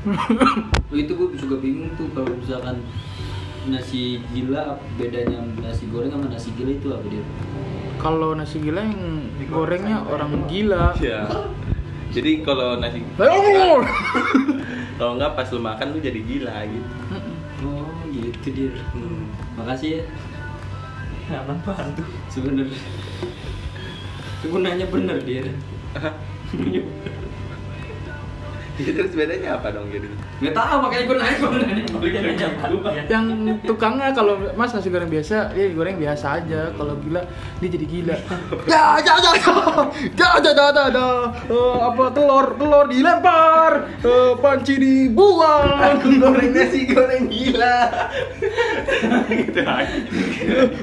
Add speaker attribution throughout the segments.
Speaker 1: Loh, Oh, itu gue juga bingung tuh kalau misalkan nasi gila bedanya nasi goreng sama nasi gila itu apa dia?
Speaker 2: Kalau nasi gila yang
Speaker 3: Digoreng
Speaker 2: gorengnya
Speaker 3: sayur.
Speaker 2: orang gila.
Speaker 4: Iya. Jadi kalau nasi
Speaker 2: Oh.
Speaker 4: kalau enggak pas lu makan lu jadi gila gitu.
Speaker 1: Oh gitu dia. Makasih ya
Speaker 3: Apa apaan tuh?
Speaker 1: sebenarnya. Sebenarnya bener dia.
Speaker 4: Ya, terus bedanya apa dong jadi?
Speaker 1: Gak tau makanya gue nanya sebenarnya.
Speaker 3: Dia nanya apaan?
Speaker 2: Yang tukangnya kalau mas nasi goreng biasa, dia goreng biasa aja. Kalau gila, dia jadi gila. Ya, ya, ya, ya, ya, ya, ya, ya, ya. Eh, apa telur, telur dilempar, Eh, panci dibuang,
Speaker 4: goreng nasi goreng gila. gitu aja.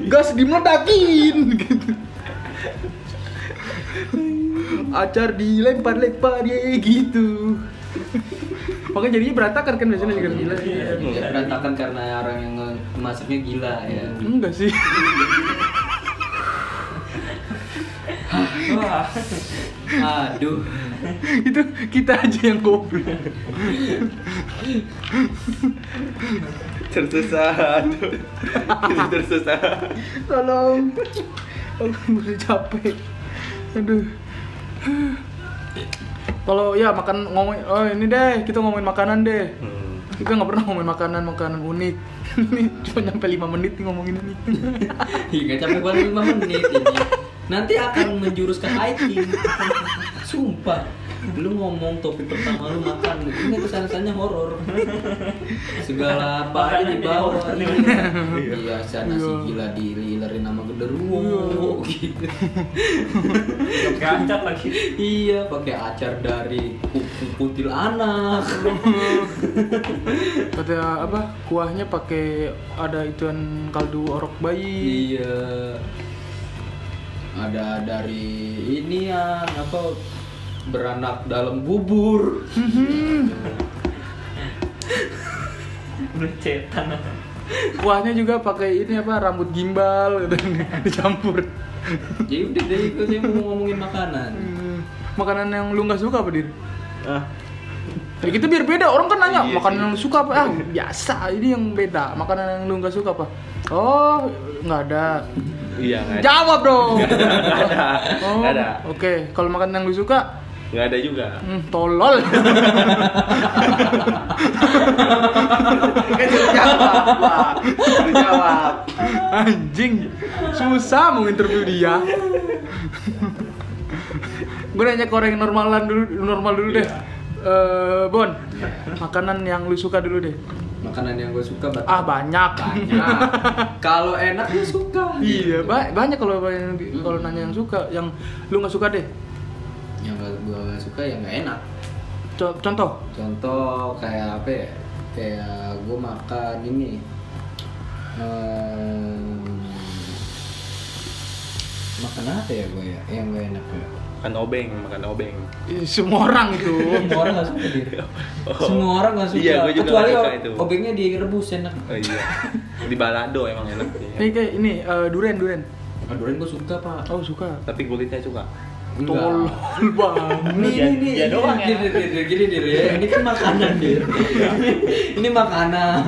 Speaker 2: gas dimeledakin, gitu. Acar dilempar-lempar ya gitu. Makanya jadinya berantakan kan biasanya nasi goreng gila.
Speaker 1: Iya, Berantakan karena orang yang nge- masuknya gila ya.
Speaker 2: Enggak sih.
Speaker 3: Wah.
Speaker 1: Aduh.
Speaker 2: itu kita aja yang goblok
Speaker 4: Tersesat. Jadi tersesat.
Speaker 2: tolong aku udah capek aduh kalau ya makan ngomongin oh ini deh kita ngomongin makanan deh
Speaker 4: Hmm.
Speaker 2: kita nggak pernah ngomongin makanan makanan unik ini cuma nyampe 5 menit nih ngomongin ini
Speaker 1: Iya gak capek banget 5 menit ini. Nanti akan menjurus ke hiking. Sumpah. Lu ngomong topik pertama lu makan. Ini kesan-kesannya horor. Segala apa aja dibawa. Iya, saya nasi
Speaker 2: Iya.
Speaker 1: gila dililerin sama genderuwo gitu.
Speaker 3: Gacak lagi.
Speaker 1: Iya, pakai acar dari kuku kutil anak.
Speaker 2: ada apa kuahnya pakai ada ituan kaldu orok bayi
Speaker 1: Iya. Ada dari ini ya, apa beranak dalam bubur.
Speaker 3: Udah cetan.
Speaker 2: kuahnya juga pakai ini apa rambut gimbal gitu dicampur
Speaker 1: Jadi udah deh itu saya mau ngomongin makanan.
Speaker 2: Hmm, makanan yang lu nggak suka apa dir
Speaker 4: Ah,
Speaker 2: Ya kita biar beda, orang kan nanya
Speaker 4: Iya
Speaker 2: makanan
Speaker 4: sih.
Speaker 2: yang lu suka apa? Ah, biasa, ini yang beda. Makanan yang lu nggak suka apa? Oh, nggak ada.
Speaker 4: iya nggak ada.
Speaker 2: Jawab dong.
Speaker 4: Nggak ada.
Speaker 2: Oh,
Speaker 4: Nggak ada.
Speaker 2: Oke, kalau makanan yang lu suka,
Speaker 4: Nggak ada juga.
Speaker 2: hmm, tolol.
Speaker 4: Kan suruh jawab. Pak. Suruh jawab.
Speaker 2: Anjing, susah mau interview dia. Gue nanya koreng normalan dulu, normal dulu deh.
Speaker 4: Iya.
Speaker 2: Eh, Bon, makanan yang lu suka dulu deh.
Speaker 1: Makanan yang gue suka bat-
Speaker 2: Ah, banyak.
Speaker 1: banyak. Kalau enak gue suka.
Speaker 2: Iya,
Speaker 1: Gitu.
Speaker 2: ba- banyak kalau yang- kalau nanya yang suka, yang lu nggak suka deh.
Speaker 1: Yang gak, gue gak suka yang gak enak.
Speaker 2: Co- Contoh,
Speaker 1: Contoh kayak apa ya? Kayak gue makan ini. Ehm, makan apa ya gue ya? Yang gak enak ya?
Speaker 4: Makan obeng, makan obeng.
Speaker 2: eh, semua orang itu.
Speaker 1: Semua orang gak suka dia. Semua orang gak suka.
Speaker 4: Iya, gue juga
Speaker 1: Kecuali
Speaker 4: nggak suka
Speaker 1: o-
Speaker 4: itu.
Speaker 1: obengnya direbus enak.
Speaker 4: Oh iya. Di balado emang enak. iya.
Speaker 2: Ini kayak ini eh, duren duren.
Speaker 1: Nah, durian gue suka pak.
Speaker 2: Oh suka.
Speaker 4: Tapi kulitnya suka.
Speaker 2: Tolol banget.
Speaker 1: Ini
Speaker 3: Dia-
Speaker 1: ini
Speaker 3: dia
Speaker 1: ini,
Speaker 3: doang ya.
Speaker 1: dir, dir, dir, gini dir ya. Ini kan makanan dir. ini makanan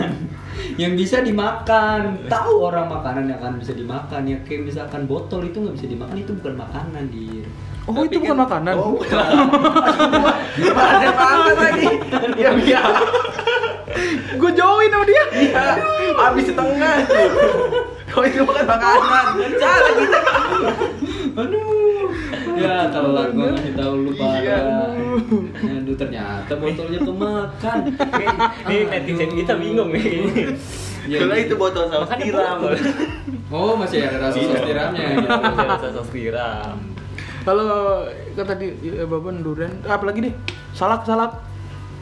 Speaker 1: yang bisa dimakan. Tahu orang makanan yang akan bisa dimakan. Ya kayak misalkan botol itu nggak bisa dimakan itu bukan makanan dir.
Speaker 2: Oh
Speaker 4: Tapi
Speaker 2: itu bukan
Speaker 4: kan-
Speaker 2: makanan.
Speaker 4: Oh, bukan. Ada banget lagi. Ya iya.
Speaker 2: Gue jauhin sama dia.
Speaker 4: Habis setengah tuh. Kau itu bukan makanan. Cara kita.
Speaker 1: Aduh. Ya
Speaker 3: Iya,
Speaker 1: telat gue ngasih tahu lu
Speaker 4: Iya.
Speaker 1: pada. Aduh ternyata botolnya kemakan.
Speaker 3: Iya. Ini netizen kita bingung nih. kayaknya.
Speaker 1: Ya,
Speaker 4: Kalau itu botol saus
Speaker 3: Makanya
Speaker 4: tiram.
Speaker 3: botol.
Speaker 1: Oh masih ada rasa saus tiramnya.
Speaker 3: Iya,
Speaker 1: gitu.
Speaker 3: masih ada saus tiram.
Speaker 2: Kalau kan tadi ya, babon duren. Apalagi deh. Salak salak.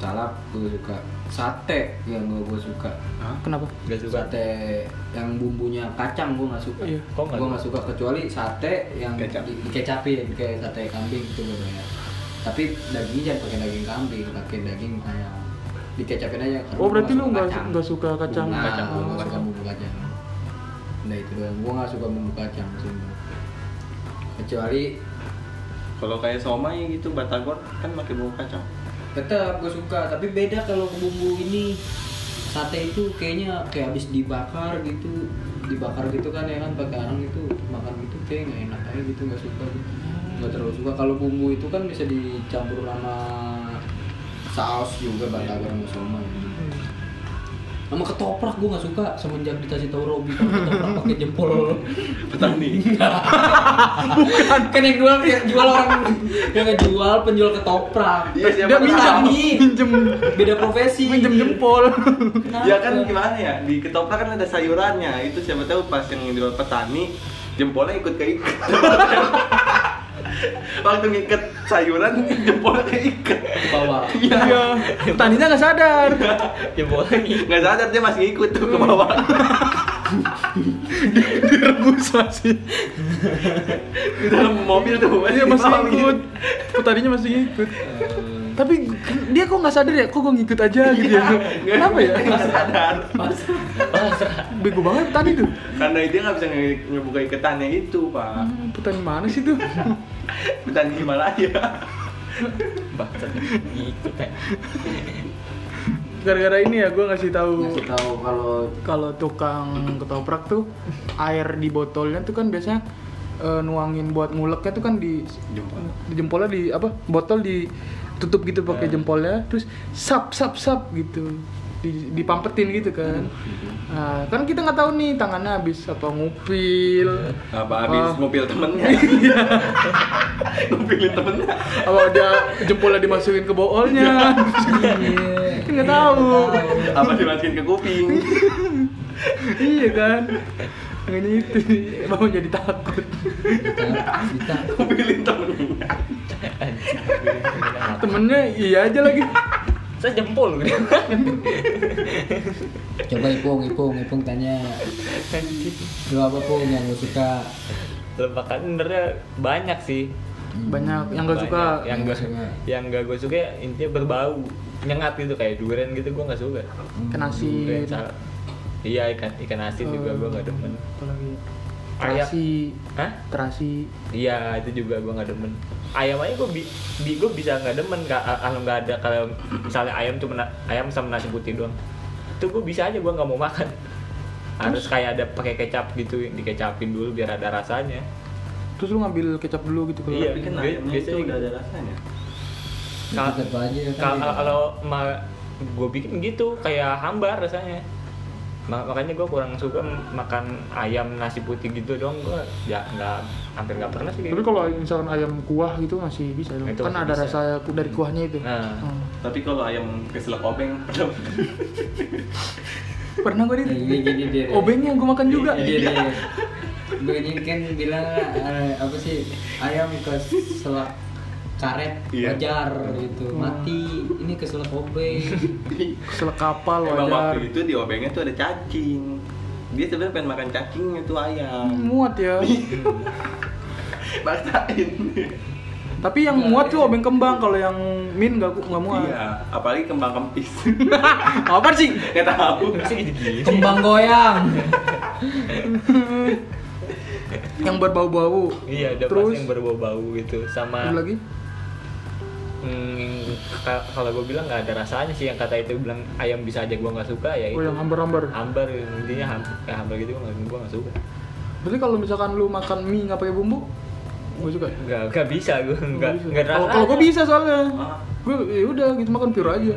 Speaker 1: Salak gue suka. Sate yang gue gue suka.
Speaker 2: Kenapa?
Speaker 3: Gak suka.
Speaker 1: Sate yang bumbunya kacang gue nggak suka.
Speaker 2: Iya,
Speaker 3: kok nggak
Speaker 1: gue
Speaker 3: suka?
Speaker 1: nggak suka kecuali sate yang
Speaker 4: Kecap.
Speaker 1: di- dikecapin kayak sate kambing gitu gue banyak. Tapi dagingnya jangan pakai daging kambing, pakai daging ayam. Dikecapin aja. karena
Speaker 2: Oh,
Speaker 1: gua
Speaker 2: berarti
Speaker 1: nggak
Speaker 2: lu
Speaker 1: suka
Speaker 2: nggak-
Speaker 1: kacang.
Speaker 2: nggak suka kacang.
Speaker 1: Nah,
Speaker 4: Kacang,
Speaker 1: gue nggak
Speaker 4: kacang.
Speaker 1: suka bumbu kacang. Nah itu doang. Gue nggak suka bumbu kacang sih. Kecuali
Speaker 4: Kalau kayak somai gitu Batagor kan pakai bumbu kacang.
Speaker 1: Tetap gue suka, tapi beda kalau bumbu ini sate itu kayaknya kayak habis dibakar gitu, dibakar gitu kan ya kan pakai arang itu makan gitu kayak nggak enak aja gitu nggak suka gitu. Nggak terlalu suka kalau bumbu itu kan bisa dicampur sama saus juga bakal garam sama sama ketoprak gue nggak suka semenjak dikasih tahu Robi kalau ketoprak pakai jempol
Speaker 4: petani
Speaker 1: bukan kan yang jual yang jual orang yang ngejual penjual ketoprak
Speaker 4: Iya, siapa
Speaker 2: Dia
Speaker 4: tahu.
Speaker 2: minjem,
Speaker 1: Petani.
Speaker 2: minjem,
Speaker 1: beda profesi
Speaker 2: minjem jempol.
Speaker 1: Kenapa?
Speaker 4: Ya kan gimana ya, di ketoprak kan ada sayurannya Itu siapa tahu pas yang jual petani Jempolnya ikut keikat Waktu ngikat sayuran, jempolnya keikat
Speaker 1: bawa
Speaker 2: Iya, petaninya nggak sadar.
Speaker 3: Ya boleh nih.
Speaker 4: Nggak sadar dia masih ikut tuh ke bawah
Speaker 2: Direbus masih.
Speaker 4: Di dalam mobil tuh
Speaker 2: Iya masih
Speaker 4: dibawa.
Speaker 2: ikut. Petaninya masih ikut. Tapi dia kok nggak sadar ya? Kok gue ngikut aja gitu ya? Kenapa ya?
Speaker 4: Iya. Nggak sadar
Speaker 2: Bego banget petani tuh.
Speaker 4: Karena dia nggak bisa nge- ngebuka iketannya itu, Pak
Speaker 2: Hmm, Petani mana sih tuh?
Speaker 3: Hmm.
Speaker 4: Petani Himalaya
Speaker 3: Bangsat. Gitu kan.
Speaker 2: Gara-gara ini ya gue ngasih tahu
Speaker 1: ngasih tahu kalau
Speaker 2: kalau tukang ketoprak tuh air di botolnya tuh kan biasanya eh, nuangin buat nguleknya tuh kan di di jempolnya di apa botol ditutup gitu pakai jempolnya terus sap sap sap gitu di, dipampetin gitu kan nah kan kita nggak tahu nih tangannya habis apa ngupil
Speaker 4: Apa habis
Speaker 2: Ah.
Speaker 4: mobil temennya? Iya. Ngupilin temennya
Speaker 2: apa ada jempolnya dimasukin ke boolnya Kan nggak tahu
Speaker 4: Apa dimasukin ke kuping?
Speaker 2: iya kan makanya itu mau jadi takut
Speaker 1: kita
Speaker 4: Ngupilin temennya
Speaker 2: temennya iya aja lagi
Speaker 3: Saya jempol gitu.
Speaker 1: coba ipung ipung ipung tanya lu apa pung yang lu suka
Speaker 3: Lebakan sebenarnya banyak sih.
Speaker 2: banyak yang nggak suka
Speaker 3: Banyak. ya. yang gak
Speaker 1: Yang nggak
Speaker 3: yang gak gue suka ya intinya berbau nyengat gitu kayak durian gitu gue nggak suka
Speaker 2: kena asin
Speaker 3: durian salad iya ikan ikan asin Iya, juga
Speaker 2: Oh.
Speaker 3: gue nggak demen
Speaker 2: apalagi
Speaker 3: Ayam.
Speaker 2: terasi
Speaker 3: Hah?
Speaker 2: terasi
Speaker 3: Iya itu juga gue nggak demen. Ayam aja gue bi, bi gue bisa nggak demen ka- kalau nggak ada kalau misalnya ayam cuma na- ayam sama nasi putih doang. Itu gue bisa aja gue nggak mau makan. Harus kayak ada pakai kecap gitu dikecapin dulu biar ada rasanya.
Speaker 2: terus lu ngambil kecap dulu gitu kalau
Speaker 3: Iya,
Speaker 4: Tapi kan
Speaker 3: bi-
Speaker 4: ayamnya itu
Speaker 3: biasanya
Speaker 4: udah ada rasanya
Speaker 3: Kal-
Speaker 1: tetap aja kan
Speaker 3: Kalau kalau gue bikin gitu kayak hambar rasanya. Ma- makanya gue kurang suka m- makan ayam nasi putih gitu doang gue ya nggak hampir nggak pernah sih kayak
Speaker 2: tapi
Speaker 3: gitu.
Speaker 2: kalau misalkan ayam kuah gitu masih bisa dong.
Speaker 3: Nah, Itu
Speaker 2: kan
Speaker 3: masih
Speaker 2: ada
Speaker 3: bisa.
Speaker 2: rasa ku- dari kuahnya itu
Speaker 3: Nah.
Speaker 2: Hmm.
Speaker 4: Tapi kalau ayam keselak obeng
Speaker 2: pernah gue
Speaker 1: Iya, iya, iya, iya.
Speaker 2: di obengnya gue makan juga
Speaker 1: Iya, iya. Gue ini kan bilang eh, apa sih ayam keselak karet
Speaker 4: Iya.
Speaker 1: wajar gitu mati ini keselak obeng
Speaker 2: selek kapal
Speaker 4: Emang
Speaker 2: wajar
Speaker 4: waktu itu di obengnya tuh ada cacing Dia sebenarnya pengen makan cacingnya tuh
Speaker 2: Hmm,
Speaker 4: ayam
Speaker 2: muat ya
Speaker 4: Maksain
Speaker 2: tapi yang
Speaker 1: Nggak,
Speaker 2: muat
Speaker 1: iya.
Speaker 2: tuh obeng kembang kalau yang min nggak nggak muat
Speaker 4: Iya, apalagi kembang kempis
Speaker 2: apa sih
Speaker 4: Gak tahu
Speaker 3: Masa gini-gini?
Speaker 1: kembang goyang
Speaker 2: yang berbau-bau
Speaker 3: Iya, ada
Speaker 2: terus
Speaker 3: pas yang berbau-bau gitu sama
Speaker 2: ada lagi
Speaker 3: Hmm, ka- kalau gue bilang nggak ada rasanya sih yang kata itu bilang ayam bisa aja gue nggak suka ya itu
Speaker 2: oh yang hambar-hambar
Speaker 3: hambar intinya ham kayak hambar gitu gue nggak gua nggak suka
Speaker 2: Berarti kalau misalkan lu makan mie nggak pakai bumbu, gue suka. ya?
Speaker 3: nggak nggak bisa gue nggak
Speaker 2: Gua bisa.
Speaker 3: nggak ada
Speaker 2: Kalau-
Speaker 3: rasanya.
Speaker 2: Kalau gue bisa soalnya,
Speaker 4: Ah.
Speaker 2: gue ya udah gitu makan pure aja.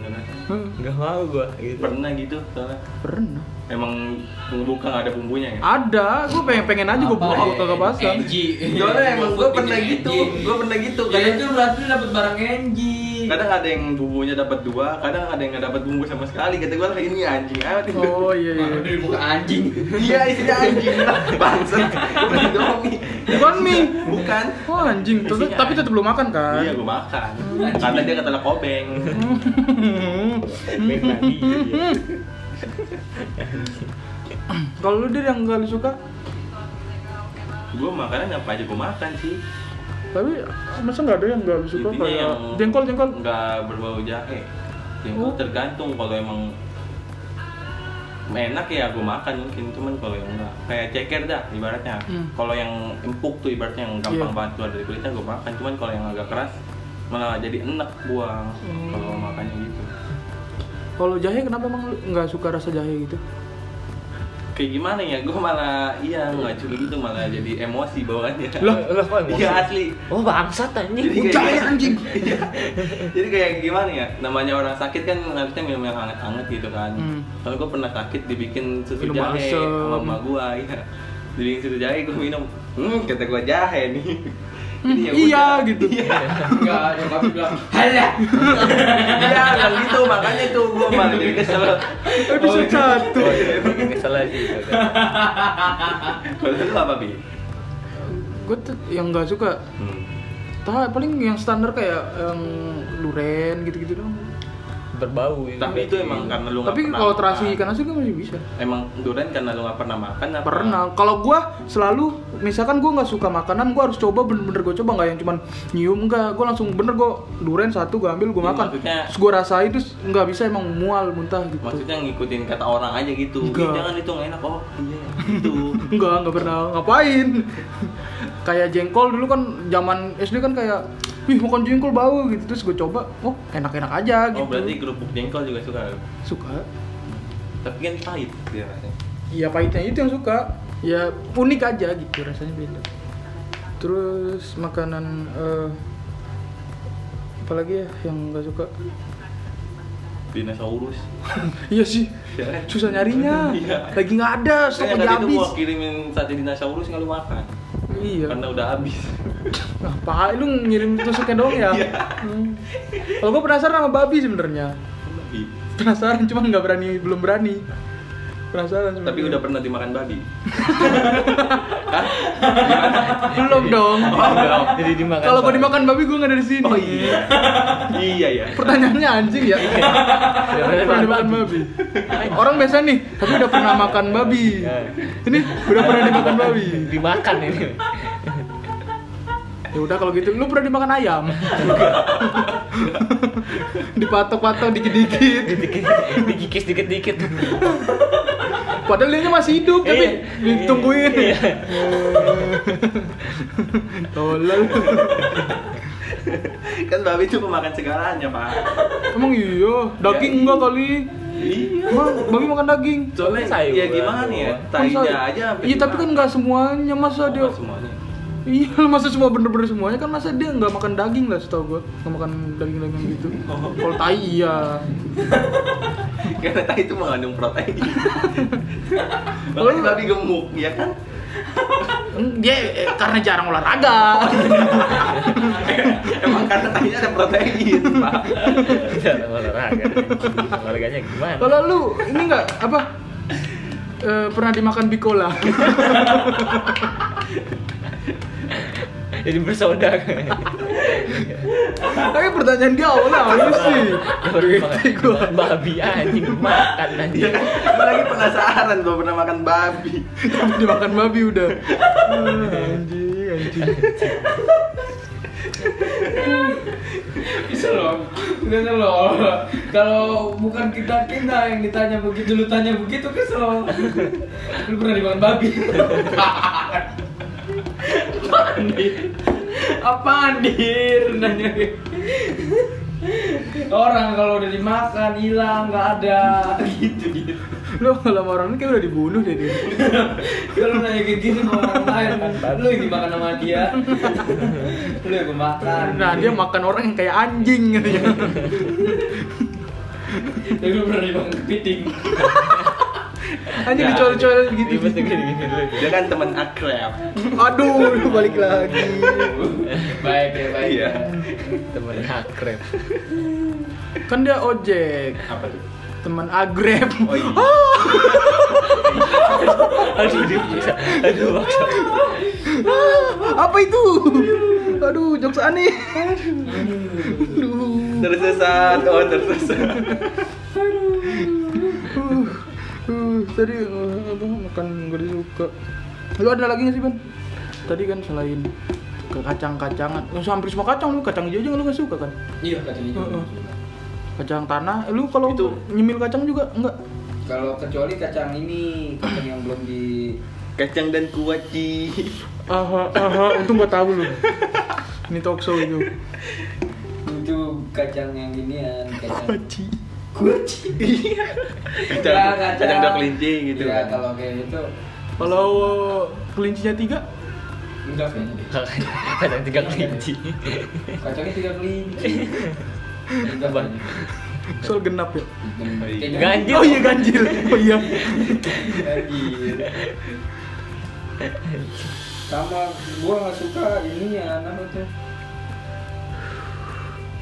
Speaker 2: Heeh.
Speaker 3: nggak mau gue gitu
Speaker 4: Pernah gitu soalnya
Speaker 2: Pernah.
Speaker 4: Emang ngebuka nggak ada bumbunya ya?
Speaker 2: Ada, gue pengen pengen Kan aja gue buka
Speaker 1: Apa,
Speaker 2: gue kagak pasang.
Speaker 1: NG.
Speaker 4: Soalnya emang gue pernah
Speaker 1: Bikin
Speaker 4: gitu,
Speaker 1: NG.
Speaker 4: gue pernah gitu
Speaker 1: Ya
Speaker 4: kadang
Speaker 1: itu berarti lu dapet barang Enji.
Speaker 4: kadang ada yang bumbunya dapat dua, kadang ada yang nggak dapat bumbu sama sekali. Kata gue ini anjing amat itu.
Speaker 2: Oh iya iya.
Speaker 1: Baru dibuka anjing.
Speaker 4: Iya isinya anjing lah, bangsat. Gua beli Indomie.
Speaker 2: Bukan mie.
Speaker 4: Bukan.
Speaker 2: Oh anjing, tetep-
Speaker 3: Isinya
Speaker 2: tapi tetap lu makan kan?
Speaker 4: Iya gue makan. Karena dia kata kobeng.
Speaker 3: Baik lagi gitu.
Speaker 2: Kalau lu dia yang gak lu suka,
Speaker 4: gue makannya apa aja gue makan sih.
Speaker 2: tapi masa nggak ada yang gak lu suka
Speaker 4: Intinya
Speaker 2: kayak
Speaker 4: yang-
Speaker 2: jengkol jengkol.
Speaker 4: Nggak berbau jahe. Jengkol
Speaker 2: Oh.
Speaker 4: tergantung kalau emang enak ya gue makan mungkin cuman kalau yang enggak kayak ceker dah ibaratnya
Speaker 2: Hmm.
Speaker 4: kalau yang empuk tuh ibaratnya yang gampang
Speaker 2: Iya.
Speaker 4: banget keluar dari kulitnya gue makan cuman kalau yang agak keras malah jadi enak gua
Speaker 2: Hmm.
Speaker 4: kalau makannya gitu
Speaker 2: Kalau jahe kenapa emang lu nggak suka rasa jahe gitu?
Speaker 4: kayak gimana ya gua malah iya ngacu gitu malah jadi emosi bawaannya
Speaker 3: Loh, loh, kok emosi?
Speaker 4: iya asli
Speaker 3: Oh bangsat anjing.
Speaker 4: Jadi
Speaker 2: Jahe
Speaker 4: gitu. kayak- Iya.
Speaker 2: anjing.
Speaker 4: jadi kayak gimana ya namanya orang sakit kan harusnya minum yang anget-anget gitu kan
Speaker 2: Hmm.
Speaker 4: kalau gue pernah sakit dibikin susu
Speaker 2: Minum
Speaker 4: jahe
Speaker 2: asem.
Speaker 4: sama emak gue ya dibikin susu jahe gue minum hmm kata gue jahe nih Jadi ya
Speaker 2: Hmm, iya,
Speaker 4: udah.
Speaker 2: gitu.
Speaker 4: iya
Speaker 1: Enggak, nyokapnya bilang, halah.
Speaker 4: Iya, kan gitu makanya tuh gue malah jadi kesel
Speaker 2: Episode satu.
Speaker 3: Oh iya, emang kesel aja gitu kan.
Speaker 4: kalau itu apa bi
Speaker 2: Gue tuh yang nggak suka.
Speaker 4: Hmm.
Speaker 2: Tahu paling yang standar kayak yang luren gitu-gitu dong.
Speaker 3: Berbau gitu.
Speaker 4: tapi itu emang kan. karena lu nggak
Speaker 2: Tapi
Speaker 4: pernah
Speaker 2: kalau terasi
Speaker 4: makan.
Speaker 2: ikan asin kan masih bisa.
Speaker 4: emang durian karena lu nggak pernah makan apa?
Speaker 2: Pernah. Kalau gua selalu misalkan gua nggak suka makanan, gua harus coba bener-bener gua coba nggak yang cuman nyium nggak. Gua langsung bener gua duren satu gua ambil gua
Speaker 4: Iya,
Speaker 2: makan.
Speaker 4: maksudnya-
Speaker 2: Terus gua rasain terus nggak bisa emang mual muntah gitu.
Speaker 4: maksudnya ngikutin kata orang aja gitu Ih,
Speaker 2: Enggak.
Speaker 4: jangan itu nggak enak oh iya gitu
Speaker 2: Enggak, enggak pernah ngapain. kayak jengkol dulu kan zaman SD kan kayak wih makan jengkol bau gitu terus gue coba oh enak-enak aja gitu
Speaker 4: oh berarti kerupuk jengkol juga suka
Speaker 2: suka
Speaker 4: tapi kan pahit dia rasanya
Speaker 2: ya pahitnya itu yang suka ya unik aja gitu rasanya beda terus makanan eh, apalagi ya yang nggak suka
Speaker 4: dinosaurus
Speaker 2: iya sih
Speaker 4: Ya kan?
Speaker 2: susah nyarinya
Speaker 4: Iya.
Speaker 2: lagi nggak ada
Speaker 4: Saya
Speaker 2: stoknya
Speaker 4: tadi
Speaker 2: udah
Speaker 4: itu
Speaker 2: habis
Speaker 4: mau kirimin sate dinosaurus nggak lu makan
Speaker 2: iya
Speaker 4: karena udah habis
Speaker 2: Ngapain lu ngirim tusuknya doang ya?
Speaker 4: Iya.
Speaker 2: Hmm. Kalau gue penasaran sama babi sebenarnya.
Speaker 4: Babi.
Speaker 2: Iya. Penasaran cuma nggak berani, belum berani. Penasaran
Speaker 4: tapi
Speaker 2: sebenarnya.
Speaker 4: udah pernah dimakan babi
Speaker 2: belum dong.
Speaker 4: Iya,
Speaker 3: Jadi dimakan.
Speaker 2: Kalau gue
Speaker 3: babi.
Speaker 2: dimakan babi gue nggak ada di sini.
Speaker 4: oh iya iya ya
Speaker 2: Pertanyaannya anjing ya.
Speaker 3: Udah pernah
Speaker 2: pernah dimakan babi. Orang biasa nih, tapi udah pernah makan babi. Ini udah pernah dimakan babi.
Speaker 3: Dimakan ini.
Speaker 2: Ya udah kalau gitu, lu pernah dimakan ayam? Dipatok-patok dikit-dikit.
Speaker 3: Dikit, digigis dikit-dikit.
Speaker 2: Padahal dia masih hidup tapi
Speaker 3: Iya.
Speaker 2: ditungguin.
Speaker 3: Iya.
Speaker 2: Tolol.
Speaker 4: kan babi itu pemakan segalanya pak
Speaker 2: Emang iya, daging enggak kali.
Speaker 4: iya
Speaker 2: Emang babi makan daging.
Speaker 4: soalnya
Speaker 3: Sayur
Speaker 4: ya
Speaker 3: lah,
Speaker 4: gimana ya
Speaker 3: doang.
Speaker 4: tainya
Speaker 2: Masa-
Speaker 4: aja sampai
Speaker 2: Iya, tapi kan
Speaker 4: dimakan.
Speaker 2: enggak semuanya masa
Speaker 4: Oh,
Speaker 2: dia.
Speaker 4: nggak semuanya
Speaker 2: Iya, masa semua bener-bener semuanya kan masa dia enggak makan daging lah setahu gua. Enggak makan daging-daging gitu. Kalau tai iya.
Speaker 4: karena tai itu mengandung protein
Speaker 2: Oh,
Speaker 4: makanya
Speaker 2: iya.
Speaker 4: babi gemuk ya kan
Speaker 2: Dia eh, karena jarang olahraga.
Speaker 4: emang karena tainya ada protein pak
Speaker 3: Jarang Iya, olahraga. Olahraganya gimana?
Speaker 2: Kalau lu ini enggak apa eh, pernah dimakan bikola?
Speaker 3: Jadi bersoda.
Speaker 2: Tapi pertanyaan dia awalnya apa sih?
Speaker 3: Baru
Speaker 2: Bete gua.
Speaker 3: dimakan babi anjing makan
Speaker 4: Iya
Speaker 3: anjing.
Speaker 4: kan? Gua lagi penasaran gua pernah makan babi.
Speaker 2: dimakan babi udah Ah, anjing anjing
Speaker 1: Bisa loh, bisa loh. Kalau bukan kita kita yang ditanya begitu, lu tanya begitu kesel. Lu pernah dimakan babi? Apaan dir? Apaan dir? Nanya gitu. Orang kalau udah dimakan hilang nggak ada gitu gitu.
Speaker 2: lo kalau sama orang ini kayak udah dibunuh deh dia
Speaker 1: Kalau lu nanya kayak gitu sama orang lain, lu yang dimakan sama dia, lu yang makan.
Speaker 2: nah dia makan orang yang kayak anjing gitu ya
Speaker 1: Tapi lu pernah dimakan kepiting?
Speaker 2: anjing
Speaker 4: Ya.
Speaker 2: dicoret-coret gitu
Speaker 3: Ini pasti gini-gini dulu.
Speaker 4: Dia kan teman akrab.
Speaker 2: aduh balik lagi
Speaker 1: Baik ya baik. ya.
Speaker 4: Iya.
Speaker 3: Temen hakrep.
Speaker 2: kan dia ojek
Speaker 4: Apa tuh?
Speaker 2: teman Ah, agrep
Speaker 4: Oh iya.
Speaker 3: Aduh dipaksa. Aduh paksa.
Speaker 2: Ah, apa itu aduh jokes aneh aduh
Speaker 4: Tersesat, oh tersesat.
Speaker 2: Uh, uh, tadi uh, apa makan gak disuka. Lu ada lagi gak sih, Ban? Tadi kan selain ke kacang-kacangan, lu hampir semua kacang lu kacang hijau aja lu gak suka kan?
Speaker 1: Iya kacang hijau.
Speaker 2: Heeh. Kacang tanah, eh, lu kalau
Speaker 4: Itu-
Speaker 2: nyemil kacang juga enggak?
Speaker 1: Kalau kecuali kacang ini, kacang yang belum di
Speaker 4: Kacang dan kuaci.
Speaker 2: Aha, aha, untung gua tahu lu. Ini talk show itu.
Speaker 1: butuh kacang yang ginian kacang
Speaker 2: Kuaci.
Speaker 1: kuaci
Speaker 4: Iya. Kacang-
Speaker 1: Ya,
Speaker 4: kacang dok kelinci gitu
Speaker 1: ya
Speaker 4: kan.
Speaker 1: kalau kayak gitu
Speaker 2: Kalau kelincinya tiga,
Speaker 1: enggak kayaknya deh.
Speaker 3: Kadang tiga kelinci.
Speaker 1: kacangnya tiga kelinci enggak
Speaker 3: Bang.
Speaker 1: kayaknya.
Speaker 2: soal genap ya.
Speaker 1: Kayak
Speaker 3: Ganjil.
Speaker 2: Oh iya ganjil. Oh iya.
Speaker 1: Ganjil. sama gua nggak suka ini ya apa tuh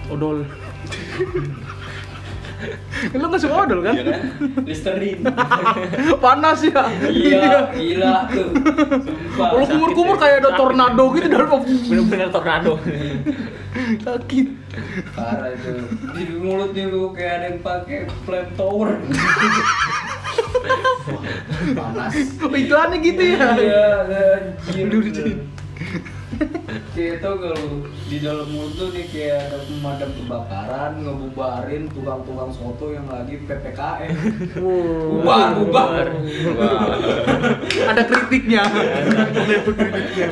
Speaker 2: Odol. Lu nggak suka odol kan?
Speaker 4: Iya kan?
Speaker 1: Listerin
Speaker 2: Panas ya.
Speaker 1: Gila,
Speaker 4: Iya.
Speaker 1: gila tuh Sumpah
Speaker 2: Lu
Speaker 1: Iya. sakit ya.
Speaker 2: kumur-kumur
Speaker 1: deh.
Speaker 2: kayak ada tornado gitu dalam
Speaker 3: Bener-bener tornado.
Speaker 2: sakit.
Speaker 1: Parah itu Di mulutnya lu kayak ada yang pakai flamethrower Panas
Speaker 2: Oh, iklannya gitu ya.
Speaker 1: Iya, anjir
Speaker 2: Aduh, Jin.
Speaker 1: Kayak tau gak lu, di dalam mulut tuh dia kayak ada pemadam kebakaran Ngebubarin tukang-tukang soto yang lagi PPKM Bubar,
Speaker 2: Wow.
Speaker 1: bubar
Speaker 2: Ada kritiknya. Ada kritiknya.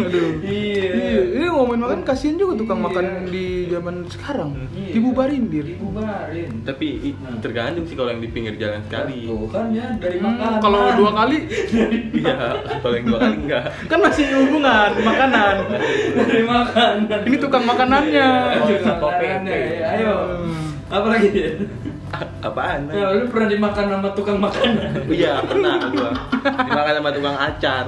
Speaker 2: Aduh.
Speaker 1: Iya
Speaker 2: Iya, ini ngomongin makan kasihan juga tukang
Speaker 1: Iya.
Speaker 2: makan di zaman sekarang.
Speaker 1: Iya.
Speaker 2: Dibubarin dir.
Speaker 1: Dibubarin
Speaker 4: Tapi i- tergantung sih kalau yang di pinggir jalan sekali.
Speaker 1: Tuh kan ya, dari
Speaker 2: Hmm,
Speaker 1: makanan
Speaker 2: kalau dua kali
Speaker 4: Iya, kalau yang dua kali enggak.
Speaker 2: kan masih hubungan makanan.
Speaker 1: dari makanan
Speaker 2: Ini tukang makanannya.
Speaker 1: Ayo,
Speaker 3: Oh, Satpol
Speaker 1: makanannya,
Speaker 3: PP.
Speaker 1: ya, ayo. Apa lagi?
Speaker 4: Apaan?
Speaker 1: Ya, lu pernah dimakan sama tukang makanan?
Speaker 4: Iya, pernah gua. Dimakan sama tukang acar.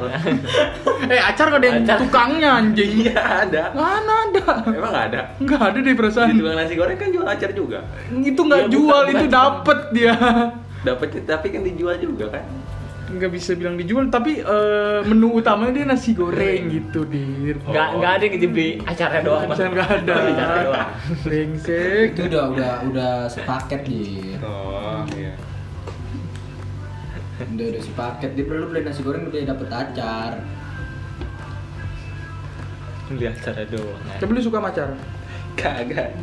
Speaker 2: eh acar gak ada yang
Speaker 3: Acar.
Speaker 2: tukangnya anjing.
Speaker 4: Iya, ada.
Speaker 2: Mana ada?
Speaker 4: Emang nggak ada.
Speaker 2: Enggak ada deh perasaan.
Speaker 4: Di tukang nasi goreng kan jual acar juga.
Speaker 2: Itu nggak
Speaker 3: Iya, bukan,
Speaker 2: jual, itu
Speaker 3: bukan.
Speaker 2: dapet dia.
Speaker 4: Dapat tapi kan dijual juga kan.
Speaker 2: Nggak bisa bilang dijual, tapi eh, menu utamanya dia nasi goreng gitu, dir.
Speaker 3: Oh. Nggak nggak ada yang di acaranya doang. Bang.
Speaker 2: Bisa nggak ada.
Speaker 3: Acaranya doang.
Speaker 2: Brengsek.
Speaker 1: Itu udah udah udah sepaket di
Speaker 4: Oh, iya.
Speaker 1: udah udah sepaket di perlu beli nasi goreng udah dapet acar
Speaker 3: Di acara doang.
Speaker 2: Tapi lu suka sama acar?
Speaker 4: Kagak.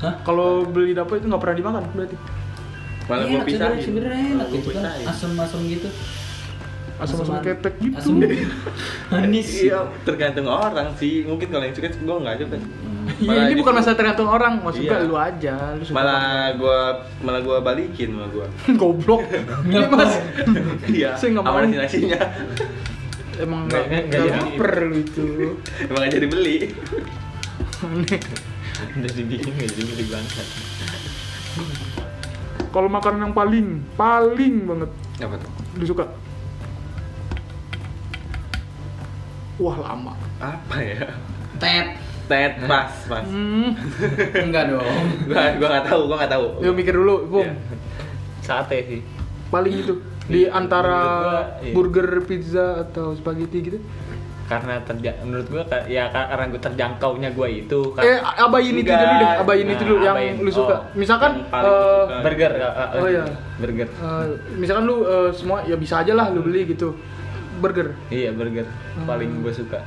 Speaker 1: Hah?
Speaker 2: Kalau beli dapet itu nggak pernah dimakan berarti. Iya,
Speaker 4: Malah gua
Speaker 1: Enak,
Speaker 4: pisahin.
Speaker 1: sebenernya- sebenernya enak
Speaker 4: Malah gua
Speaker 1: gitu kan
Speaker 4: pisahin.
Speaker 1: asem-asem gitu
Speaker 2: Asam-asam
Speaker 1: Asam-
Speaker 2: ketek gitu.
Speaker 1: asem manis
Speaker 4: Iya, tergantung orang sih. Mungkin kalau yang suka gua enggak suka.
Speaker 2: Iya,
Speaker 4: Malah
Speaker 2: ini
Speaker 4: justru-
Speaker 2: bukan masalah tergantung orang, mau suka
Speaker 4: Iya.
Speaker 2: lu aja, lu suka.
Speaker 4: Malah gua malah gua balikin sama gua.
Speaker 2: goblok. Ini Mas.
Speaker 4: Iya.
Speaker 2: Saya nggak mau.
Speaker 4: Sama nasi-nasinya.
Speaker 2: Emang
Speaker 3: Nggak-
Speaker 2: enggak
Speaker 3: nggak jadi.
Speaker 2: proper lu itu.
Speaker 4: Emang aja dibeli.
Speaker 2: Aneh.
Speaker 3: Udah dibikin nggak jadi beli bangsat.
Speaker 2: Kalau makanan yang paling paling banget
Speaker 4: Apa tuh?
Speaker 2: lu suka. Wah, lama.
Speaker 4: Apa ya?
Speaker 1: tet
Speaker 4: Tet pas pas.
Speaker 2: Hmm.
Speaker 1: enggak dong
Speaker 4: Gua gua nggak tahu, gua nggak tahu.
Speaker 2: Yuk mikir dulu, Bung.
Speaker 4: Iya.
Speaker 3: Sate sih.
Speaker 2: Paling itu di
Speaker 3: Iya, Menurut
Speaker 2: antara
Speaker 3: gua, iya.
Speaker 2: burger, pizza atau spaghetti gitu.
Speaker 3: Karena terja menurut gua ka- ya ka- karena gua terjangkaunya gua itu kan
Speaker 2: Eh, abain itu dulu deh,
Speaker 4: Enggak.
Speaker 2: abain itu
Speaker 3: Nah,
Speaker 2: dulu yang
Speaker 3: abain.
Speaker 2: lu suka.
Speaker 3: Oh,
Speaker 2: Misalkan
Speaker 4: yang paling lu
Speaker 2: eh,
Speaker 4: suka.
Speaker 3: burger. eh, eh,
Speaker 2: Oh,
Speaker 3: eh,
Speaker 2: iya.
Speaker 3: Burger.
Speaker 2: Eh, misalkan lu eh, semua ya bisa aja lah lu
Speaker 3: Hmm.
Speaker 2: beli gitu burger
Speaker 3: Iya burger. Paling
Speaker 2: Hmm.
Speaker 3: gua suka.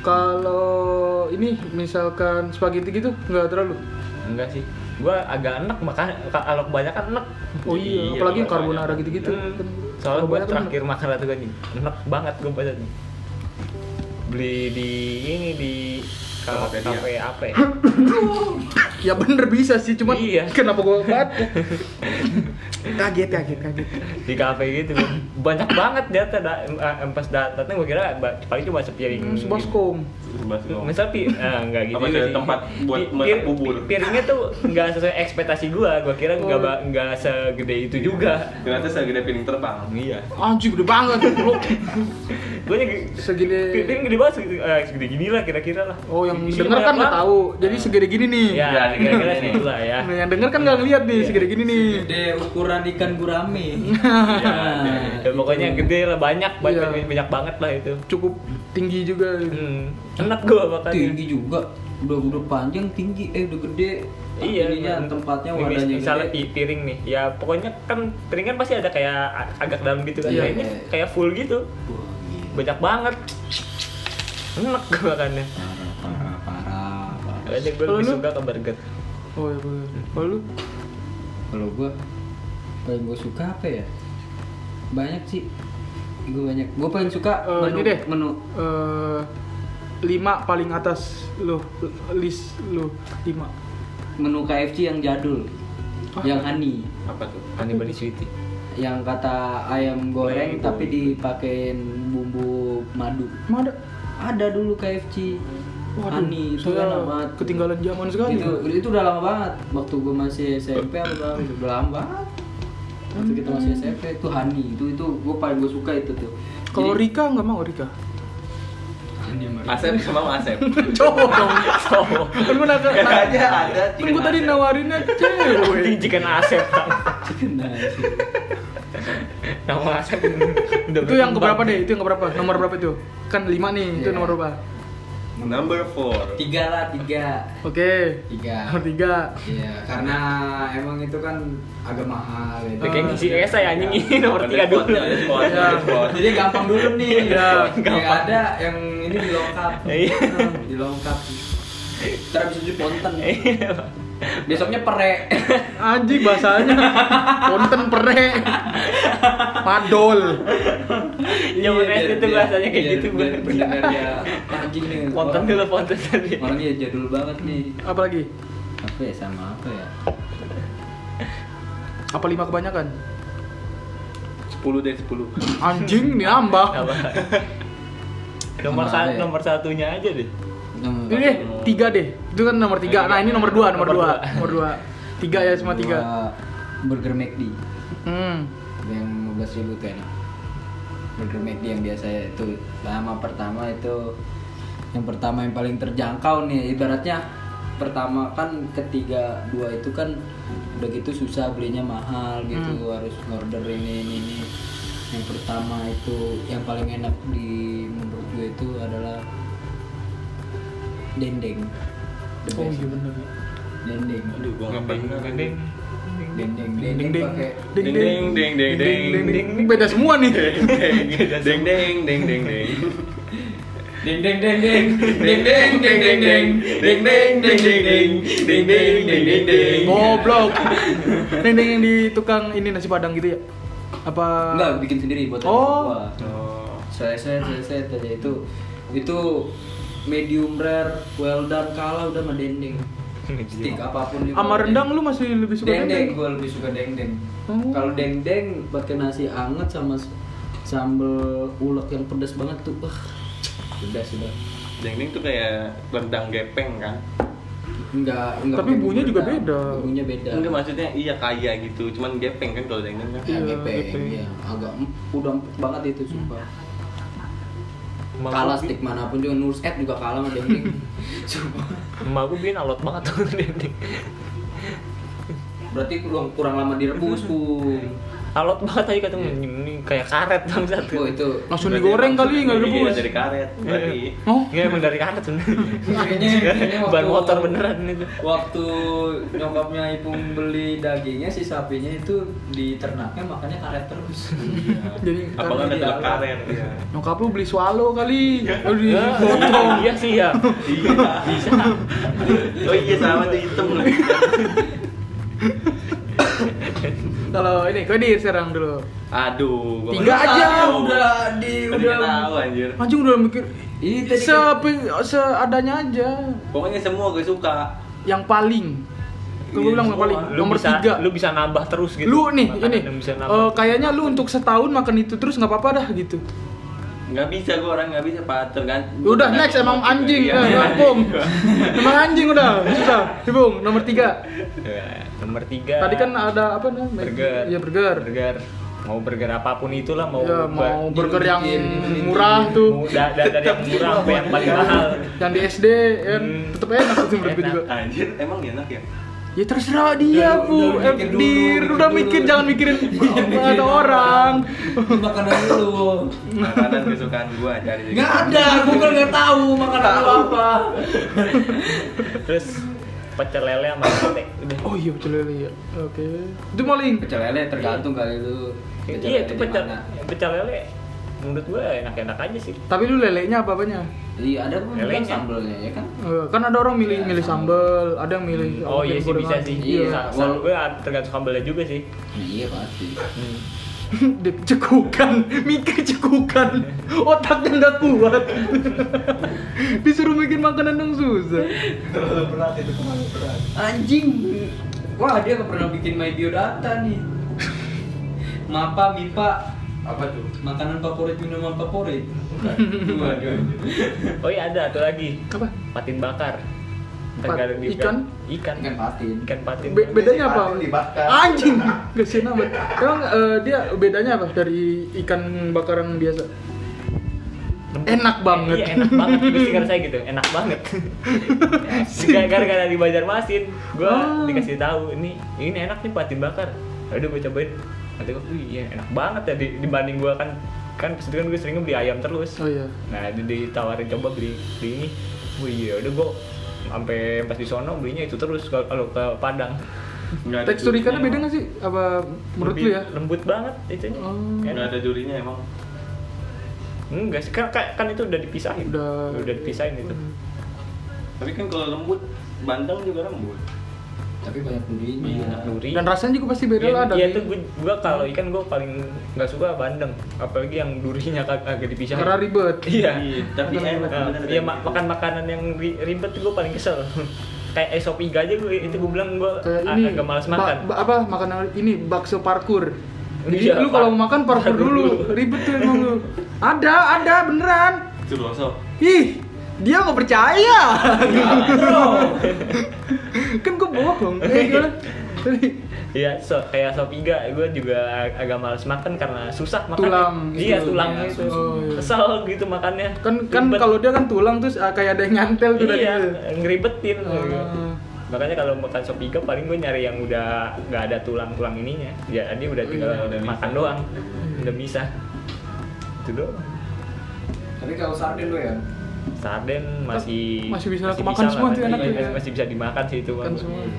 Speaker 2: kalau ini misalkan spaghetti gitu nggak terlalu
Speaker 3: Enggak sih. Gua agak enak makan kalau kebanyakan enak.
Speaker 2: oh iya, apalagi yang carbonara gitu gitu
Speaker 3: Hmm. Soalnya gua
Speaker 2: kan
Speaker 3: terakhir makan ratu gani, enak banget gua pada nih. Beli di ini di kalau
Speaker 4: Tokopedia.
Speaker 3: kafe apa? ya?
Speaker 2: ya bener bisa sih cuman
Speaker 3: Iya.
Speaker 2: kenapa gua banget kaget kaget kaget
Speaker 3: di kafe gitu banyak banget data da, em- pas datang gua kira ba- paling cuma sepiring
Speaker 2: hmm,
Speaker 3: gitu.
Speaker 2: sebaskom
Speaker 4: Bahas ngomong.
Speaker 3: Misal pi, eh, enggak gitu
Speaker 4: Apa
Speaker 3: juga
Speaker 4: ada
Speaker 3: sih.
Speaker 4: tempat buat
Speaker 3: Pi-
Speaker 4: masak
Speaker 3: pir-
Speaker 4: bubur?
Speaker 3: pi- Piringnya tuh enggak sesuai ekspektasi gua. Gua kira enggak
Speaker 2: Oh.
Speaker 3: ba- enggak segede itu juga.
Speaker 4: Ternyata segede piring terbang. Iya.
Speaker 2: anjing gede banget lu
Speaker 3: Gua nya-
Speaker 2: segini
Speaker 3: piring gede banget segede, eh, segede gini lah kira-kira lah.
Speaker 2: oh yang
Speaker 3: Di sini
Speaker 2: denger kan
Speaker 3: banyak
Speaker 2: nggak
Speaker 3: banget.
Speaker 2: tahu jadi segede gini nih
Speaker 3: Ya,
Speaker 4: Ya,
Speaker 3: kira-kira
Speaker 4: gini.
Speaker 3: segitulah ya.
Speaker 2: Nah, yang denger kan nggak ngeliat
Speaker 3: Iya.
Speaker 2: nih segede gini nih
Speaker 1: gede ukuran ikan gurame
Speaker 4: iya,
Speaker 1: Nah,
Speaker 3: Ya, pokoknya
Speaker 1: itu.
Speaker 3: gede lah banyak banyak,
Speaker 2: gitu. Iya.
Speaker 3: banyak banget lah itu.
Speaker 2: cukup tinggi juga
Speaker 3: Hmm, enak gua
Speaker 2: Kan ya?
Speaker 3: makannya.
Speaker 1: tinggi juga udah udah panjang tinggi eh udah gede
Speaker 3: Iya,
Speaker 1: Ininya,
Speaker 2: kan.
Speaker 3: men-
Speaker 1: tempatnya
Speaker 3: mis-
Speaker 1: wadahnya
Speaker 3: misalnya
Speaker 2: iya.
Speaker 1: gede
Speaker 3: pi- piring nih, ya pokoknya kan piring kan pasti ada kayak a- agak dalam gitu kan,
Speaker 2: Iya.
Speaker 3: Nah, ini kayak full gitu,
Speaker 1: Wah, gila.
Speaker 3: banyak banget, enak gua makannya.
Speaker 1: parah parah parah, parah.
Speaker 3: Kayaknya gue
Speaker 2: Kalau
Speaker 3: lebih
Speaker 2: lu?
Speaker 3: suka ke burger
Speaker 2: oh ya bener kalau lu
Speaker 1: kalau gua paling gua suka apa ya banyak sih gua banyak gua paling suka
Speaker 2: Eh,
Speaker 1: menu
Speaker 2: ini deh.
Speaker 1: menu
Speaker 2: eh lima paling atas lo list lo lima
Speaker 1: Menu KFC yang jadul.
Speaker 2: Hah?
Speaker 1: Yang honey.
Speaker 4: apa tuh
Speaker 3: Hannibal Sweetie.
Speaker 1: yang kata ayam goreng
Speaker 3: Goreng.
Speaker 1: tapi dipakein bumbu madu
Speaker 2: Emang ada
Speaker 1: ada dulu KFC
Speaker 2: Waduh,
Speaker 1: Ani itu
Speaker 2: saya
Speaker 1: lama banget
Speaker 2: ketinggalan zaman sekali.
Speaker 1: itu, itu udah lama banget waktu gue masih SMP apa berapa, itu udah lama banget waktu kita
Speaker 2: Hmm.
Speaker 1: masih SMP itu Hani itu itu gue paling gue suka itu tuh
Speaker 2: kalau
Speaker 1: Jadi-
Speaker 2: Rika nggak mau Rika
Speaker 1: Hani sama Rika.
Speaker 4: Asep sama Asep
Speaker 2: cowok Oh, dong cowok kan gue naga
Speaker 4: Katanya ada
Speaker 2: kan gue tadi nawarinnya
Speaker 3: Nanti
Speaker 2: cewek
Speaker 3: chicken asep.
Speaker 1: Chicken Nice.
Speaker 3: Nama asep udah
Speaker 2: itu yang
Speaker 3: berkembang.
Speaker 2: keberapa deh itu yang keberapa nomor berapa itu kan lima nih itu
Speaker 1: Iya.
Speaker 2: nomor berapa
Speaker 4: number four
Speaker 1: tiga lah tiga
Speaker 2: oke
Speaker 1: tiga
Speaker 2: nomor tiga
Speaker 1: Iya, karena emang itu kan agak mahal ya. Iya.
Speaker 3: Udah kayak
Speaker 2: Ah,
Speaker 3: ngisi
Speaker 2: iya.
Speaker 3: esai anjing ini nomor
Speaker 4: Ada
Speaker 3: 3 dulu.
Speaker 4: spotnya, ada spotnya, ada spot.
Speaker 1: Jadi gampang dulu nih.
Speaker 2: Iya,
Speaker 1: Yang
Speaker 3: gampang.
Speaker 1: ada yang ini dilengkap.
Speaker 3: Iya.
Speaker 1: Hmm, dilengkap. Ntar abis itu ponten.
Speaker 3: Iya,
Speaker 1: Besoknya pere.
Speaker 2: Anjing bahasanya konten perek padol
Speaker 3: Zaman
Speaker 1: Iya,
Speaker 3: SD
Speaker 1: biar-
Speaker 3: tuh
Speaker 1: biar-
Speaker 3: bahasanya kayak
Speaker 1: biar-
Speaker 3: gitu
Speaker 1: biar
Speaker 3: bener.
Speaker 1: bener ya. Anjing nih.
Speaker 3: Ponten dulu ponten tadi.
Speaker 2: Iya.
Speaker 1: Orangnya jadul banget nih.
Speaker 2: apalagi
Speaker 1: Apa ya sama apa ya?
Speaker 2: apa lima kebanyakan
Speaker 4: sepuluh deh sepuluh
Speaker 2: anjing nih ambak
Speaker 3: Apa?
Speaker 1: Sama
Speaker 3: Nomor
Speaker 2: ya?
Speaker 3: satu
Speaker 1: deh.
Speaker 3: nomor satunya aja deh.
Speaker 2: ini deh tiga deh itu kan nomor tiga nah ini nomor dua nomor
Speaker 3: Nomor
Speaker 2: dua
Speaker 3: dua.
Speaker 2: nomor dua tiga ya semua tiga
Speaker 1: Burger McD.
Speaker 2: hmm
Speaker 1: yang 15 ribu tuh enak burger McD yang biasa itu lama pertama itu yang pertama yang paling terjangkau nih ibaratnya pertama kan ketiga dua itu kan udah gitu susah belinya mahal gitu
Speaker 2: Hmm.
Speaker 1: harus order ini ini ini yang pertama itu yang paling enak di menurut gue itu adalah dendeng The
Speaker 2: oh
Speaker 1: best.
Speaker 2: iya bener
Speaker 1: dendeng
Speaker 4: aduh gua nggak pernah
Speaker 3: Gendeng.
Speaker 1: dendeng
Speaker 2: ding ding
Speaker 1: dendeng
Speaker 2: ding
Speaker 1: pakai
Speaker 2: ding ding
Speaker 4: Ding, ding, ding, ding,
Speaker 2: ding ding beda semua nih
Speaker 4: deng deng deng deng deng
Speaker 1: Ding ding ding ding ding ding ding ding ding ding ding ding ding ding ding ding ding ding ding
Speaker 2: goblok ding ding yang di tukang ini nasi padang gitu ya apa
Speaker 1: Enggak bikin sendiri buat
Speaker 2: Oh.
Speaker 4: oh
Speaker 1: Selesai selesai aja itu itu medium rare well done kalah udah sama dendeng. Stick apapun juga.
Speaker 2: sama rendang lu masih lebih suka
Speaker 1: Dendeng gue lebih suka dendeng.
Speaker 2: Oh.
Speaker 1: Kalau dendeng pakai nasi anget sama s- sambel ulek yang pedas banget tuh. Ah, pedas sudah.
Speaker 4: deng deng tuh kayak rendang gepeng kan
Speaker 1: Enggak, enggak.
Speaker 2: Tapi
Speaker 1: pakai
Speaker 2: bumbunya juga
Speaker 1: rendang.
Speaker 2: beda.
Speaker 1: Bumbunya beda.
Speaker 4: enggak maksudnya iya kaya gitu cuman gepeng kan kalau deng deng kan
Speaker 1: Ya,
Speaker 2: Iya,
Speaker 1: gepeng,
Speaker 2: gepeng.
Speaker 1: iya. agak em- udah empuk banget itu sumpah.
Speaker 3: Emak
Speaker 1: Kalah
Speaker 3: gua bi-
Speaker 1: stick manapun juga Nurs Ed juga kalah sama Dendeng. sumpah.
Speaker 3: Emak gue bikin alot banget tuh dendeng.
Speaker 1: Berarti kurang, kurang lama direbus, Bung.
Speaker 3: Alot banget aja kata ini kayak karet bang satu.
Speaker 1: Iya. Oh, itu.
Speaker 2: langsung digoreng kali nggak
Speaker 4: Iya,
Speaker 2: direbus
Speaker 4: dari karet berarti
Speaker 2: oh
Speaker 3: Iya emang dari karet sebenarnya.
Speaker 1: Kayaknya kayaknya
Speaker 3: Ban motor beneran itu.
Speaker 1: Waktu nyokapnya Ipung beli dagingnya si sapinya itu di ternaknya makannya karet terus.
Speaker 2: Jadi,
Speaker 1: karena
Speaker 4: apa kan ada
Speaker 1: jadi
Speaker 4: telak
Speaker 1: alat.
Speaker 4: karet iya
Speaker 2: nyokap lu beli swallow kali lu di
Speaker 3: Ya, Iya sih ya.
Speaker 4: bisa Iya. oh iya sama tuh hitam lagi
Speaker 2: kalau ini kau di serang dulu
Speaker 4: aduh gua
Speaker 2: Tiga
Speaker 4: baru
Speaker 2: aja,
Speaker 4: tahu.
Speaker 1: udah di
Speaker 4: Tadi nggak tahu
Speaker 1: udah.
Speaker 4: anjir
Speaker 2: anjing udah mikir
Speaker 1: Ih, tadi-
Speaker 2: sepe- seadanya aja
Speaker 4: pokoknya semua gue suka
Speaker 2: yang paling Tuh gue
Speaker 4: Iya,
Speaker 2: bilang yang
Speaker 4: semua.
Speaker 2: paling
Speaker 3: Lu
Speaker 2: nomor
Speaker 3: bisa,
Speaker 2: tiga
Speaker 3: Lu bisa nambah terus gitu.
Speaker 2: lu nih
Speaker 3: Makanan
Speaker 2: ini
Speaker 3: yang bisa
Speaker 2: eh,
Speaker 3: nambah.
Speaker 2: kayaknya lu untuk setahun makan itu terus nggak apa-apa dah gitu
Speaker 4: nggak bisa gue orang nggak bisa pak tergantung
Speaker 2: udah next emang anjing
Speaker 4: Iya,
Speaker 2: eh,
Speaker 4: iya.
Speaker 2: bung emang anjing udah susah bung nomor tiga
Speaker 3: Ya, nomor tiga.
Speaker 2: tadi kan ada apa namanya
Speaker 3: burger.
Speaker 2: ya burger
Speaker 3: Burger. Mau burger apapun itulah mau
Speaker 2: ya mau
Speaker 1: Ini
Speaker 2: burger yang
Speaker 1: bikin, ini
Speaker 2: murah
Speaker 1: bikin.
Speaker 2: tuh
Speaker 3: muda dari yang
Speaker 2: Iya,
Speaker 3: murah sampai yang paling mahal.
Speaker 2: yang di SD kan
Speaker 3: Hmm.
Speaker 2: tetep enak sih menurut gue
Speaker 3: Enak.
Speaker 2: juga
Speaker 4: anjir emang enak ya
Speaker 2: ya terserah
Speaker 1: Udah,
Speaker 2: dia bu
Speaker 1: udah
Speaker 2: udah,
Speaker 1: mikir
Speaker 2: mikir,
Speaker 1: dulu, mikir
Speaker 2: udah
Speaker 1: dulu.
Speaker 2: mikir jangan mikirin ada orang
Speaker 1: Makanan lu.
Speaker 4: makanan kesukaan gue cari
Speaker 1: Enggak ada, gue kan enggak tahu makanan lu apa.
Speaker 3: Terus pecel lele sama sate. Udah.
Speaker 2: oh iya pecel lele ya oke itu maling
Speaker 1: Pecel lele tergantung kali lu.
Speaker 3: Iya itu
Speaker 1: lele di
Speaker 3: pecel
Speaker 1: mana.
Speaker 3: pecel lele menurut gua enak-enak aja sih.
Speaker 2: tapi lu lelenya apa apanya
Speaker 1: Iya, ada pun
Speaker 3: Lelenya.
Speaker 1: bilang sambelnya ya kan.
Speaker 2: Eh, kan ada orang milih
Speaker 1: Ya,
Speaker 2: milih sambel ada yang milih
Speaker 3: Oh
Speaker 2: mungkin
Speaker 3: iya sih bisa
Speaker 2: gorengan.
Speaker 3: sih.
Speaker 1: Iya.
Speaker 3: Iya. Gue tergantung sambelnya juga sih.
Speaker 2: Hmm.
Speaker 1: Iya pasti.
Speaker 2: Dip cekukan, mikir cekukan, otaknya nggak kuat. Disuruh bikin makanan dong susah.
Speaker 4: terlalu berat itu terlalu berat
Speaker 1: Anjing. Wah, dia nggak pernah bikin my biodata nih. Mapa, mipa,
Speaker 4: apa tuh
Speaker 1: makanan favorit, minuman favorit. Waduh.
Speaker 3: Oh iya ada satu lagi.
Speaker 2: Apa?
Speaker 3: Patin bakar.
Speaker 2: Pat-
Speaker 3: Tergantung di-
Speaker 2: ikan?
Speaker 3: Ikan.
Speaker 1: Ikan patin.
Speaker 3: Ikan patin.
Speaker 2: Be- bedanya apa?
Speaker 4: Patin dibakar.
Speaker 2: Anjing, kesian amat. Emang eh, dia bedanya apa dari ikan bakaran biasa? Enak banget.
Speaker 3: Iya, enak banget. Bisikan saya gitu, enak banget. Ya, Gara-gara di Banjarmasin, gua
Speaker 2: Ah.
Speaker 3: dikasih tahu ini ini enak nih patin bakar. Aduh gua cobain. Kata gua, "Wih, iya enak banget ya di- dibanding gua kan kan pas itu kan gue sering beli ayam terus.
Speaker 2: Oh iya.
Speaker 3: Nah, di- ditawarin coba beli beli ini. Wih, iya udah gua sampai pas di sono belinya itu terus kalau- kalau ke Padang.
Speaker 4: Nggak ada
Speaker 2: Tekstur
Speaker 4: jurinya,
Speaker 2: ikannya beda
Speaker 4: emang.
Speaker 2: nggak sih? Apa menurut
Speaker 3: Lebih
Speaker 2: lu ya?
Speaker 3: Lembut banget itunya.
Speaker 2: Oh.
Speaker 4: nggak
Speaker 3: Enak.
Speaker 4: ada jurinya emang
Speaker 3: Enggak sih, kan, kan, kan itu udah dipisahin.
Speaker 2: Udah-
Speaker 3: udah dipisahin itu.
Speaker 4: tapi kan kalau lembut bandeng juga lembut
Speaker 1: Tapi banyak
Speaker 3: Iya,
Speaker 1: durinya.
Speaker 3: Nuri.
Speaker 2: Dan rasanya juga pasti beda lah ada.
Speaker 3: Iya tuh gue gue kalau ikan gue paling nggak suka bandeng, apalagi yang durinya kag- agak dipisahin.
Speaker 2: Karena ribet.
Speaker 3: Iya.
Speaker 4: Iya, tapi
Speaker 2: Makan-
Speaker 4: enak
Speaker 3: Nah,
Speaker 4: bener
Speaker 3: Iya
Speaker 4: kayak
Speaker 3: ma-
Speaker 4: gitu.
Speaker 3: makan makanan yang ri- ribet tuh gue paling kesel. Kayak esop iga aja gue itu gue bilang gue
Speaker 2: Kayak ini
Speaker 3: Ah, agak malas
Speaker 2: ba-
Speaker 3: makan.
Speaker 2: ba- apa makanan ini bakso parkur. Jadi
Speaker 3: Iya,
Speaker 2: lu
Speaker 3: par-
Speaker 2: kalau mau makan parkur
Speaker 3: parkur
Speaker 2: dulu,
Speaker 3: dulu.
Speaker 2: ribet tuh emang lu. Ada, ada beneran.
Speaker 4: itu rosok
Speaker 2: Ih, dia nggak percaya.
Speaker 3: Iya.
Speaker 2: kan gue bohong. Eh, gimana?
Speaker 3: Iya, so, kayak sop iga gue juga ag- agak malas makan karena susah makan.
Speaker 2: Tulang
Speaker 3: Iya,
Speaker 2: gitu.
Speaker 3: tulangnya
Speaker 1: Iya,
Speaker 3: itu.
Speaker 2: susah. Oh, iya.
Speaker 3: Kesel gitu makannya.
Speaker 2: kan kan
Speaker 3: Ribet.
Speaker 2: kalau dia kan tulang terus ah, kayak ada yang nyantel tuh dari
Speaker 3: iya,
Speaker 2: itu. ya.
Speaker 3: ngeribetin. gitu.
Speaker 2: Ah.
Speaker 3: Makanya kalau makan sop iga paling gue nyari yang udah nggak ada tulang-tulang ininya. Jadi udah
Speaker 2: Oh,
Speaker 3: tinggal
Speaker 4: Iya, udah
Speaker 3: makan
Speaker 4: bisa.
Speaker 3: doang. Udah bisa. Itu doang.
Speaker 1: Tapi kalau sarden lo ya.
Speaker 3: Sarden masih
Speaker 2: Masih bisa kemakan semua
Speaker 3: lah,
Speaker 2: tuh
Speaker 3: masih-
Speaker 2: enak tuh,
Speaker 3: masih,
Speaker 2: ya.
Speaker 3: masih bisa dimakan sih itu.
Speaker 2: Kan semua.
Speaker 1: Iya.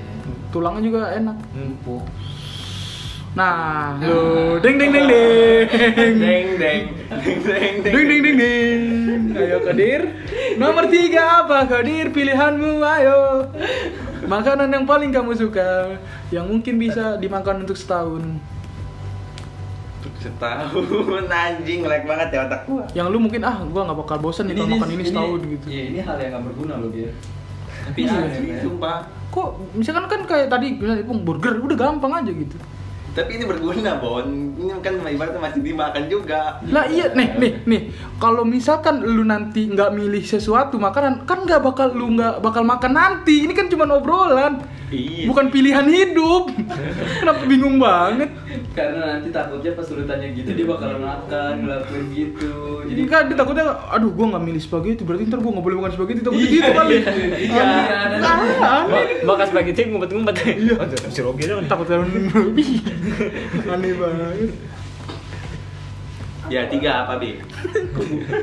Speaker 2: Tulangnya juga enak.
Speaker 1: Empuk.
Speaker 2: Nah,
Speaker 3: Ah.
Speaker 2: lu ding ding ding ding.
Speaker 4: deng deng deng deng deng
Speaker 2: Ding ding ding ding. Ayo Kadir. Nomor tiga apa Kadir pilihanmu? Ayo. Makanan yang paling kamu suka yang mungkin bisa dimakan untuk setahun.
Speaker 4: setahun anjing lag banget ya otak gua
Speaker 2: Yang lu mungkin ah gua nggak bakal bosan nih kalau makan ini setahun gitu.
Speaker 1: Iya, ini hal yang gak berguna loh dia. Tapi
Speaker 2: Iya,
Speaker 1: aneh,
Speaker 4: Anjing,
Speaker 1: men.
Speaker 4: sumpah
Speaker 2: Kok misalkan kan kayak tadi misalnya Ipung, burger udah gampang aja gitu.
Speaker 4: tapi ini berguna bon ini kan ibaratnya masih dimakan juga
Speaker 2: Lah iya nih nih nih kalau misalkan lu nanti nggak milih sesuatu makanan kan nggak bakal lu nggak bakal makan nanti ini kan cuma obrolan
Speaker 4: Iya.
Speaker 2: bukan pilihan hidup kenapa bingung banget
Speaker 1: Karena nanti takutnya pas lu tanya gitu dia bakal makan, ngelakuin gitu.
Speaker 2: jadi kan dia takutnya aduh gua nggak milih spaghetti berarti ntar gua nggak boleh makan spaghetti takutnya gitu kali
Speaker 1: Iya,
Speaker 2: Ah, aneh.
Speaker 3: Makan spaghetti ngumpet-ngumpet. Iya. Si Rogi dong.
Speaker 2: takut kan aneh banget
Speaker 4: ya tiga apa bi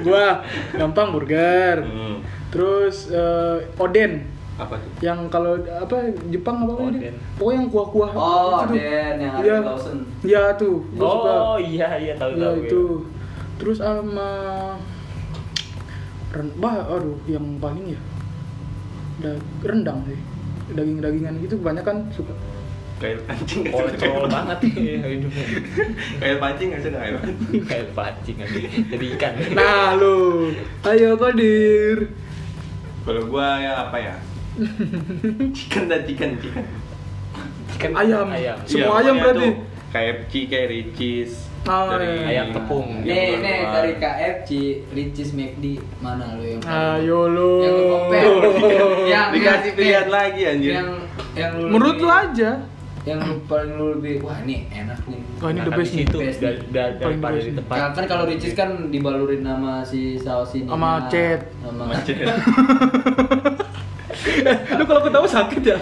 Speaker 2: gua gampang burger
Speaker 4: hmm.
Speaker 2: terus eh, oden
Speaker 4: apa tuh
Speaker 2: yang kalau apa Jepang apa namanya dia?
Speaker 3: Oden.
Speaker 2: Pokoknya yang kuah-kuah.
Speaker 1: Oh,
Speaker 2: itu tuh.
Speaker 1: oden, yang ada
Speaker 2: Iya.
Speaker 1: Lawson.
Speaker 2: Iya tuh, gua suka.
Speaker 3: Oh iya iya tahu
Speaker 2: Iya
Speaker 3: tahu.
Speaker 2: itu. Terus sama ren- bah, aduh, yang paling ya da- rendang sih. Daging-dagingan gitu kebanyakan suka.
Speaker 4: kail pancing nggak suka
Speaker 3: Kolesterol banget iya, hidupnya.
Speaker 4: kail pancing nggak suka kail pancing
Speaker 3: Kayak pancing aja. Jadi ikan.
Speaker 2: Nah, lu. Ayo Kodir.
Speaker 4: kalau gua ya apa ya chicken dan chicken chicken
Speaker 3: Ikan
Speaker 2: Ayam.
Speaker 3: Ayam.
Speaker 2: Semua ayam
Speaker 4: Iya, pokoknya
Speaker 2: berarti?
Speaker 4: tuh KFC, KRI cheese
Speaker 2: Oh,
Speaker 4: dari
Speaker 2: iya.
Speaker 3: Ayam tepung.
Speaker 1: Nih, nih dari KFC, Ricis McD, mana lu yang
Speaker 2: Ayo lu.
Speaker 1: Yang lu compare. Yang-
Speaker 4: Dikasih
Speaker 1: yang-
Speaker 4: pilihan
Speaker 1: eh,
Speaker 4: lagi, anjir.
Speaker 1: Yang yang lu
Speaker 2: Menurut
Speaker 1: lebih-
Speaker 2: lu aja.
Speaker 1: Yang lu paling lu lebih wah ini enak nih.
Speaker 2: Oh, ini the
Speaker 3: Makan Nah, di
Speaker 2: best nih.
Speaker 3: situ
Speaker 1: Best
Speaker 3: da- da-
Speaker 2: Paling
Speaker 3: daripada
Speaker 2: best
Speaker 3: di
Speaker 2: nih.
Speaker 3: tempat.
Speaker 1: Kan, kan kalau Ricis kan dibalurin sama si saus ini.
Speaker 2: Sama cet.
Speaker 1: Sama
Speaker 4: macet
Speaker 2: lu kalau ketawa sakit ya?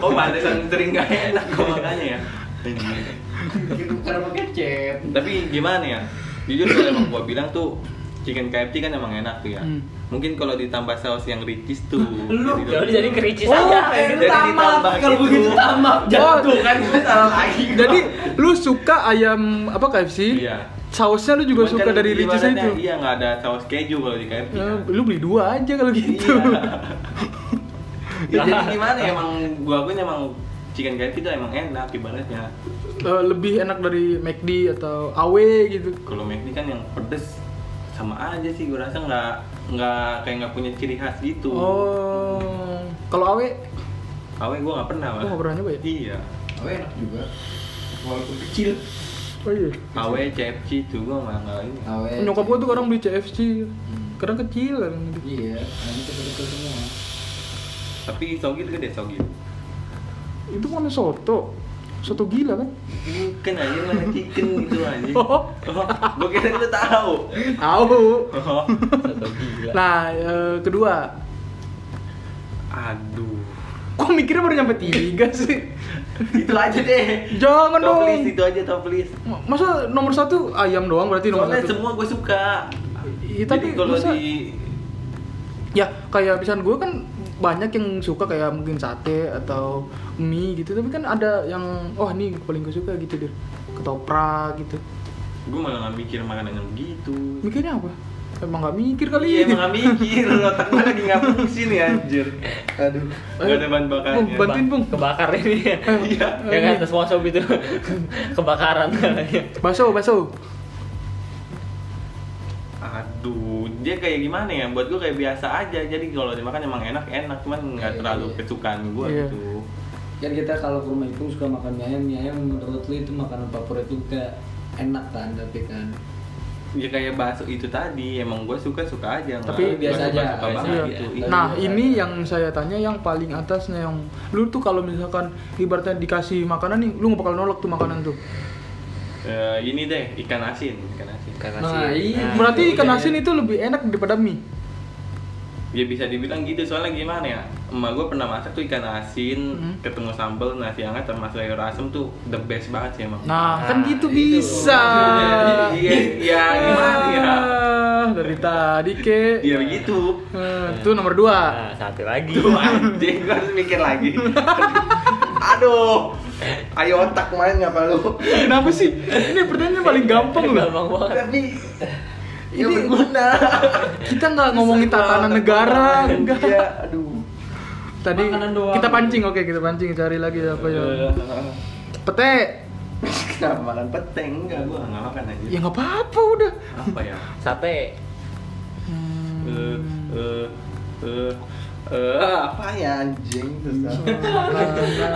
Speaker 4: oh pantesan sering nggak enak kok makanya ya
Speaker 1: Gitu, Karena pakai cet.
Speaker 4: tapi gimana ya jujur kalau emang gua bilang tuh chicken KFC kan emang enak tuh ya
Speaker 2: Hmm.
Speaker 4: mungkin kalau ditambah saus yang ricis tuh
Speaker 1: Lu-
Speaker 3: Ya udah jadi kericis
Speaker 2: Oh,
Speaker 3: aja.
Speaker 1: eh, lu
Speaker 4: Jadi ditambah
Speaker 1: tamak kalau
Speaker 4: gitu.
Speaker 1: begitu tamak jatuh
Speaker 2: Oh.
Speaker 1: kan salah lagi.
Speaker 2: Jadi lu suka ayam apa KFC?
Speaker 4: Iya.
Speaker 2: Sausnya lu juga
Speaker 4: Cuman
Speaker 2: suka
Speaker 4: kan
Speaker 2: dari ricisnya
Speaker 4: ibaratnya
Speaker 2: itu.
Speaker 4: iya nggak ada saus keju kalau di Iya. KFC
Speaker 2: Ya,
Speaker 4: kan.
Speaker 2: lu beli dua aja kalau gitu.
Speaker 4: Iya. Ya, jadi gimana ya, emang gua akuin emang chicken guide itu emang enak ibaratnya
Speaker 2: Eh, lebih enak dari McD atau AW gitu.
Speaker 4: kalau McD kan yang pedes sama aja sih gue rasa nggak nggak kayak nggak punya ciri khas gitu
Speaker 2: Oh, kalau AW
Speaker 4: awe gue nggak pernah
Speaker 2: Lu nggak pernah nyoba ya?
Speaker 4: iya
Speaker 1: Awe enak juga. Walaupun kecil.
Speaker 2: oh iya.
Speaker 4: awe CFC itu gue nggak nggak ini
Speaker 1: Awe.
Speaker 2: Eh. Nyokap gua tuh kadang beli CFC. Kadang kecil kadang gitu.
Speaker 1: Iya, nanti kecil-kecil semua.
Speaker 4: tapi sogil gede sogil
Speaker 2: Itu kan soto. Soto gila kan?
Speaker 4: bukan aja mana chicken gitu aja
Speaker 2: Oh.
Speaker 4: gue kira lu tahu
Speaker 2: Tahu.
Speaker 4: Oh.
Speaker 1: Satu gila.
Speaker 2: Nah, eh, kedua.
Speaker 4: aduh
Speaker 2: Kok mikirnya baru nyampe tiga sih?
Speaker 4: itu aja deh
Speaker 2: Jangan
Speaker 4: top
Speaker 2: dong.
Speaker 4: list itu aja top list
Speaker 2: Ma- Masa nomor satu ayam doang berarti nomor
Speaker 4: soalnya
Speaker 2: satu?
Speaker 4: semua gue suka
Speaker 2: Iya,
Speaker 4: jadi
Speaker 2: tapi
Speaker 4: kalau
Speaker 2: masa-
Speaker 4: di
Speaker 2: Ya, kayak misalnya gue kan banyak yang suka kayak mungkin sate atau mie gitu tapi kan ada yang wah ini paling gue suka gitu dir ketoprak gitu
Speaker 4: gue malah nggak mikir gitu. makanan yang begitu
Speaker 2: mikirnya apa emang nggak mikir kali
Speaker 4: Iya emang gak mikir, otak gue lagi gak fungsi nih anjir Aduh Gak ada bahan
Speaker 2: Bung,
Speaker 4: bakarnya
Speaker 2: bantuin bung
Speaker 3: Kebakar ini ya.
Speaker 4: Iya
Speaker 3: Ya kan atas WhatsApp itu kebakaran
Speaker 2: baso baso
Speaker 4: Aduh, dia kayak gimana ya, buat gue kayak biasa aja Jadi kalau dimakan emang enak, enak
Speaker 1: Iya,
Speaker 4: Cuman gak terlalu
Speaker 1: iya.
Speaker 4: kesukaan gue
Speaker 2: Iya.
Speaker 4: gitu
Speaker 1: Kan kita kalau ke rumah Ipung suka makan mie ayam, mie ayam menurut lu itu makanan favorit lu gak enak kan tapi kan
Speaker 4: Ya kayak bakso itu tadi, emang gue suka-suka aja nggak-
Speaker 2: Tapi
Speaker 4: nggak
Speaker 1: biasa aja,
Speaker 4: suka-suka
Speaker 1: biasa
Speaker 4: banget
Speaker 1: aja.
Speaker 4: gitu.
Speaker 1: Iya.
Speaker 2: Nah ini yang saya tanya yang paling atasnya yang lu tuh kalau misalkan ibaratnya dikasih makanan nih lu nggak bakal nolak tuh makanan tuh.
Speaker 4: Eh, Ini deh, ikan asin Ikan asin
Speaker 1: Nah, iya.
Speaker 2: Berarti ikan
Speaker 1: iya,
Speaker 2: asin
Speaker 1: iya.
Speaker 2: itu lebih enak daripada mie.
Speaker 4: Ya bisa dibilang gitu, soalnya gimana ya Emak gue pernah masak tuh ikan asin,
Speaker 2: Hmm.
Speaker 4: ketemu sambal, nasi hangat, sama sayur asem tuh the best banget sih emang
Speaker 2: Nah, kan
Speaker 3: Nah,
Speaker 2: gitu
Speaker 1: itu.
Speaker 2: bisa.
Speaker 4: Iya, iya, gimana ya?
Speaker 2: Ah, Dari tadi ke.
Speaker 4: Ya begitu.
Speaker 2: Eh, Itu nomor dua.
Speaker 3: Nah, satu lagi.
Speaker 4: Tuh anjing, gua harus mikir lagi. Aduh. Ayo otak main nggak apa lu?
Speaker 2: Kenapa sih? Ini pertanyaannya paling gampang loh.
Speaker 3: Gampang banget.
Speaker 4: Tapi ya berguna.
Speaker 2: Kita nggak ngomongin tatanan negara, enggak.
Speaker 4: Iya, aduh.
Speaker 2: Tadi
Speaker 1: Makanan doang.
Speaker 2: kita pancing, oke kita pancing cari lagi apa ya.
Speaker 4: Iya.
Speaker 2: Pete.
Speaker 4: Kenapa makan Eh, peteng enggak gua nggak makan aja.
Speaker 2: Ya nggak apa-apa udah.
Speaker 4: Apa ya?
Speaker 3: Sate.
Speaker 4: Eh
Speaker 2: Hmm.
Speaker 4: eh eh eh apa ya anjing susah.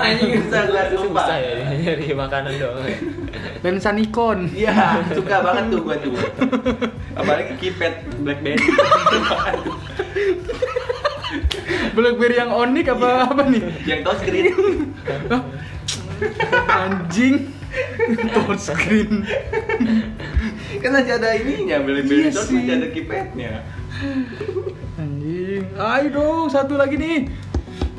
Speaker 4: Anjing susah gua sumpah.
Speaker 3: Susah ya nyari makanan doang. ya.
Speaker 2: Lensa Nikon.
Speaker 4: Iya, suka banget tuh gua tuh. Apalagi keypad BlackBerry.
Speaker 2: Blackberry yang onik apa apa nih?
Speaker 4: yang touchscreen.
Speaker 2: Hah? Anjing. Touchscreen.
Speaker 4: kan masih ada ininya BlackBerry
Speaker 2: Iya
Speaker 4: touch
Speaker 2: sih.
Speaker 4: masih ada keypadnya.
Speaker 2: Anjing. Ayo dong, satu lagi nih.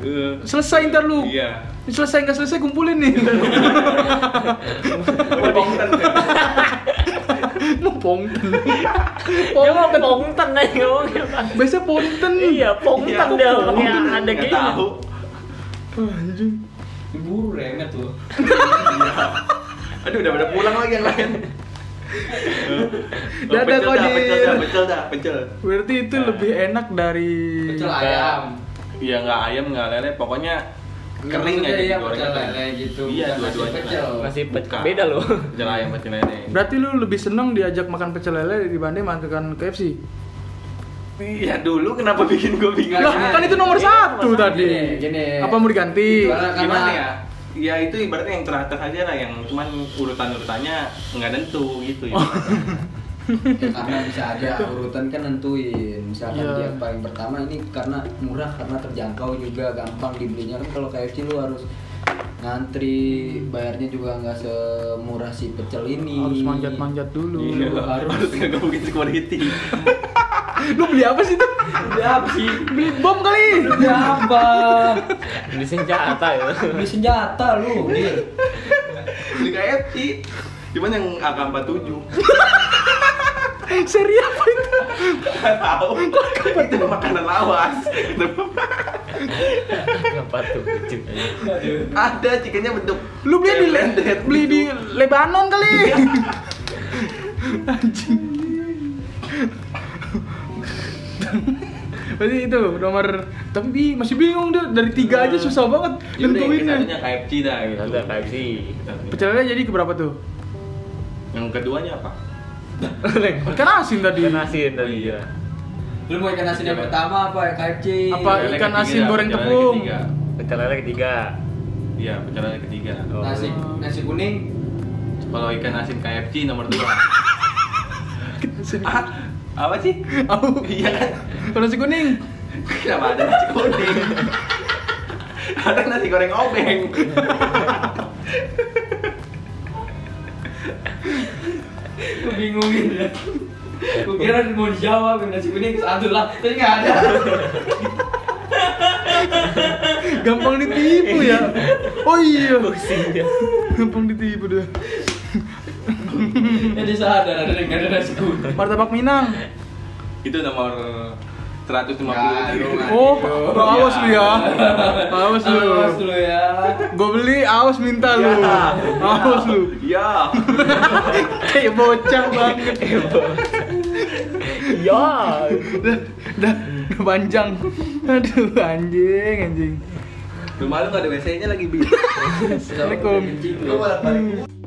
Speaker 4: Eh,
Speaker 2: Selesai ntar lu.
Speaker 4: Iya.
Speaker 2: Selesai nggak selesai kumpulin nih.
Speaker 4: Udah bosen.
Speaker 2: Mau ponten. Oh.
Speaker 3: Dia mau pongten aja ngomongnya Pak.
Speaker 2: Biasa ponten.
Speaker 3: Iya, pongten
Speaker 4: Iya,
Speaker 3: dia
Speaker 4: bosen.
Speaker 3: ya ada
Speaker 4: Nggak
Speaker 3: kayaknya.
Speaker 4: tahu.
Speaker 2: Anjing.
Speaker 1: Buru remet tuh.
Speaker 4: Aduh, udah pada pulang lagi yang lain. Eh,
Speaker 2: Dadah,
Speaker 4: pecel dah,
Speaker 2: Kodin.
Speaker 4: Pecel dah, pecel dah, pecel.
Speaker 2: Berarti itu lebih enak dari
Speaker 1: Pecel ayam.
Speaker 4: Iya, nggak ayam, nggak lele, pokoknya kering
Speaker 1: Maksudnya iya,
Speaker 4: aja digoreng.
Speaker 1: pecel lele gitu,
Speaker 4: Iya,
Speaker 1: bukan nasi
Speaker 4: dua-duanya.
Speaker 1: pecel.
Speaker 3: Masih pe-
Speaker 4: Bukan.
Speaker 3: beda loh.
Speaker 4: Pecel ayam, pecel lele.
Speaker 2: Berarti lu lebih seneng diajak makan pecel lele dibanding makan KFC.
Speaker 4: Iya dulu kenapa bikin gue bingung?
Speaker 2: Lah, kan itu nomor
Speaker 1: Iya,
Speaker 3: Ini
Speaker 2: satu
Speaker 3: Iya, nomor satu. iya,
Speaker 2: tadi.
Speaker 1: Gini, gini.
Speaker 2: Apa mau diganti?
Speaker 1: Itu Karena-
Speaker 4: gimana
Speaker 1: karena-
Speaker 4: ya? Ya itu ibaratnya yang teratas aja lah, yang cuman urutan-urutannya nggak tentu gitu
Speaker 3: Oh.
Speaker 4: ya.
Speaker 1: Ya, karena bisa aja urutan kan nentuin. Misalkan
Speaker 2: Iya.
Speaker 1: dia paling pertama ini karena murah, karena terjangkau juga, gampang dibelinya. Kan kalau KFC lu harus ngantri, bayarnya juga nggak semurah si pecel ini.
Speaker 2: Harus manjat-manjat dulu.
Speaker 4: Iya,
Speaker 1: harus.
Speaker 4: harus nggak mungkin security.
Speaker 2: Lu beli apa sih tuh?
Speaker 1: Udah sih.
Speaker 2: Beli bom kali.
Speaker 1: Udah apa?
Speaker 3: Di senjata ya.
Speaker 1: Beli senjata lu, Dir.
Speaker 4: Beli KFC. Cuman yang AK47.
Speaker 2: Seri apa itu?
Speaker 4: Nggak tahu. Itu makanan lawas.
Speaker 3: Kenapa tuh kecil.
Speaker 4: Ada chicken-nya bentuk
Speaker 2: Lu beli di
Speaker 4: kayak blended
Speaker 2: beli
Speaker 4: gitu.
Speaker 2: di Lebanon kali. Anjing. Berarti itu nomor tapi bi- masih bingung deh dari tiga aja susah banget
Speaker 4: Satunya
Speaker 2: nentuinnya.
Speaker 4: KFC dah gitu.
Speaker 3: Ada KFC.
Speaker 2: Pecelnya jadi keberapa tuh?
Speaker 4: Yang keduanya apa?
Speaker 2: Leng, ikan asin tadi.
Speaker 3: Ikan asin tadi ya.
Speaker 1: Lu mau ikan
Speaker 4: Iya,
Speaker 1: asin yang pertama apa KFC?
Speaker 2: Apa
Speaker 4: Lele
Speaker 2: ikan
Speaker 4: ketiga
Speaker 2: asin
Speaker 4: dah,
Speaker 2: goreng
Speaker 4: pecel lele
Speaker 2: tepung?
Speaker 4: ketiga.
Speaker 3: Pecel lele ketiga.
Speaker 4: Iya, pecel lele ketiga.
Speaker 3: Oh.
Speaker 1: Nasi nasi kuning.
Speaker 4: Kalau ikan asin KFC nomor dua. Ah, apa sih?
Speaker 2: Aku
Speaker 4: Iya kan?
Speaker 2: kalau nasi kuning.
Speaker 4: Kenapa ada nasi kuning? ada nasi goreng obeng.
Speaker 1: Gue bingungin ya. Gue kira mau dijawab yang nasi kuning satu lah, tapi nggak ada.
Speaker 2: Gampang ditipu ya. Oh iya. Gampang ditipu deh.
Speaker 1: Jadi sadar ada yang nggak ada nasi kuning.
Speaker 2: Martabak Minang.
Speaker 4: Itu nomor 150.
Speaker 1: Ya, lu nggak
Speaker 2: Oh,
Speaker 1: hidup.
Speaker 2: awas lu ya. Awas lu.
Speaker 1: Awas lu ya.
Speaker 2: Gue beli, awas minta lu. Awas lu.
Speaker 4: Ya.
Speaker 2: Kayak bocah banget.
Speaker 3: Ya.
Speaker 2: Udah, udah, udah panjang. Aduh, anjing, anjing.
Speaker 4: Rumah lu nggak ada WC-nya lagi bi.
Speaker 2: Assalamualaikum.
Speaker 1: Kencing lu.
Speaker 4: Lu bolak-balik.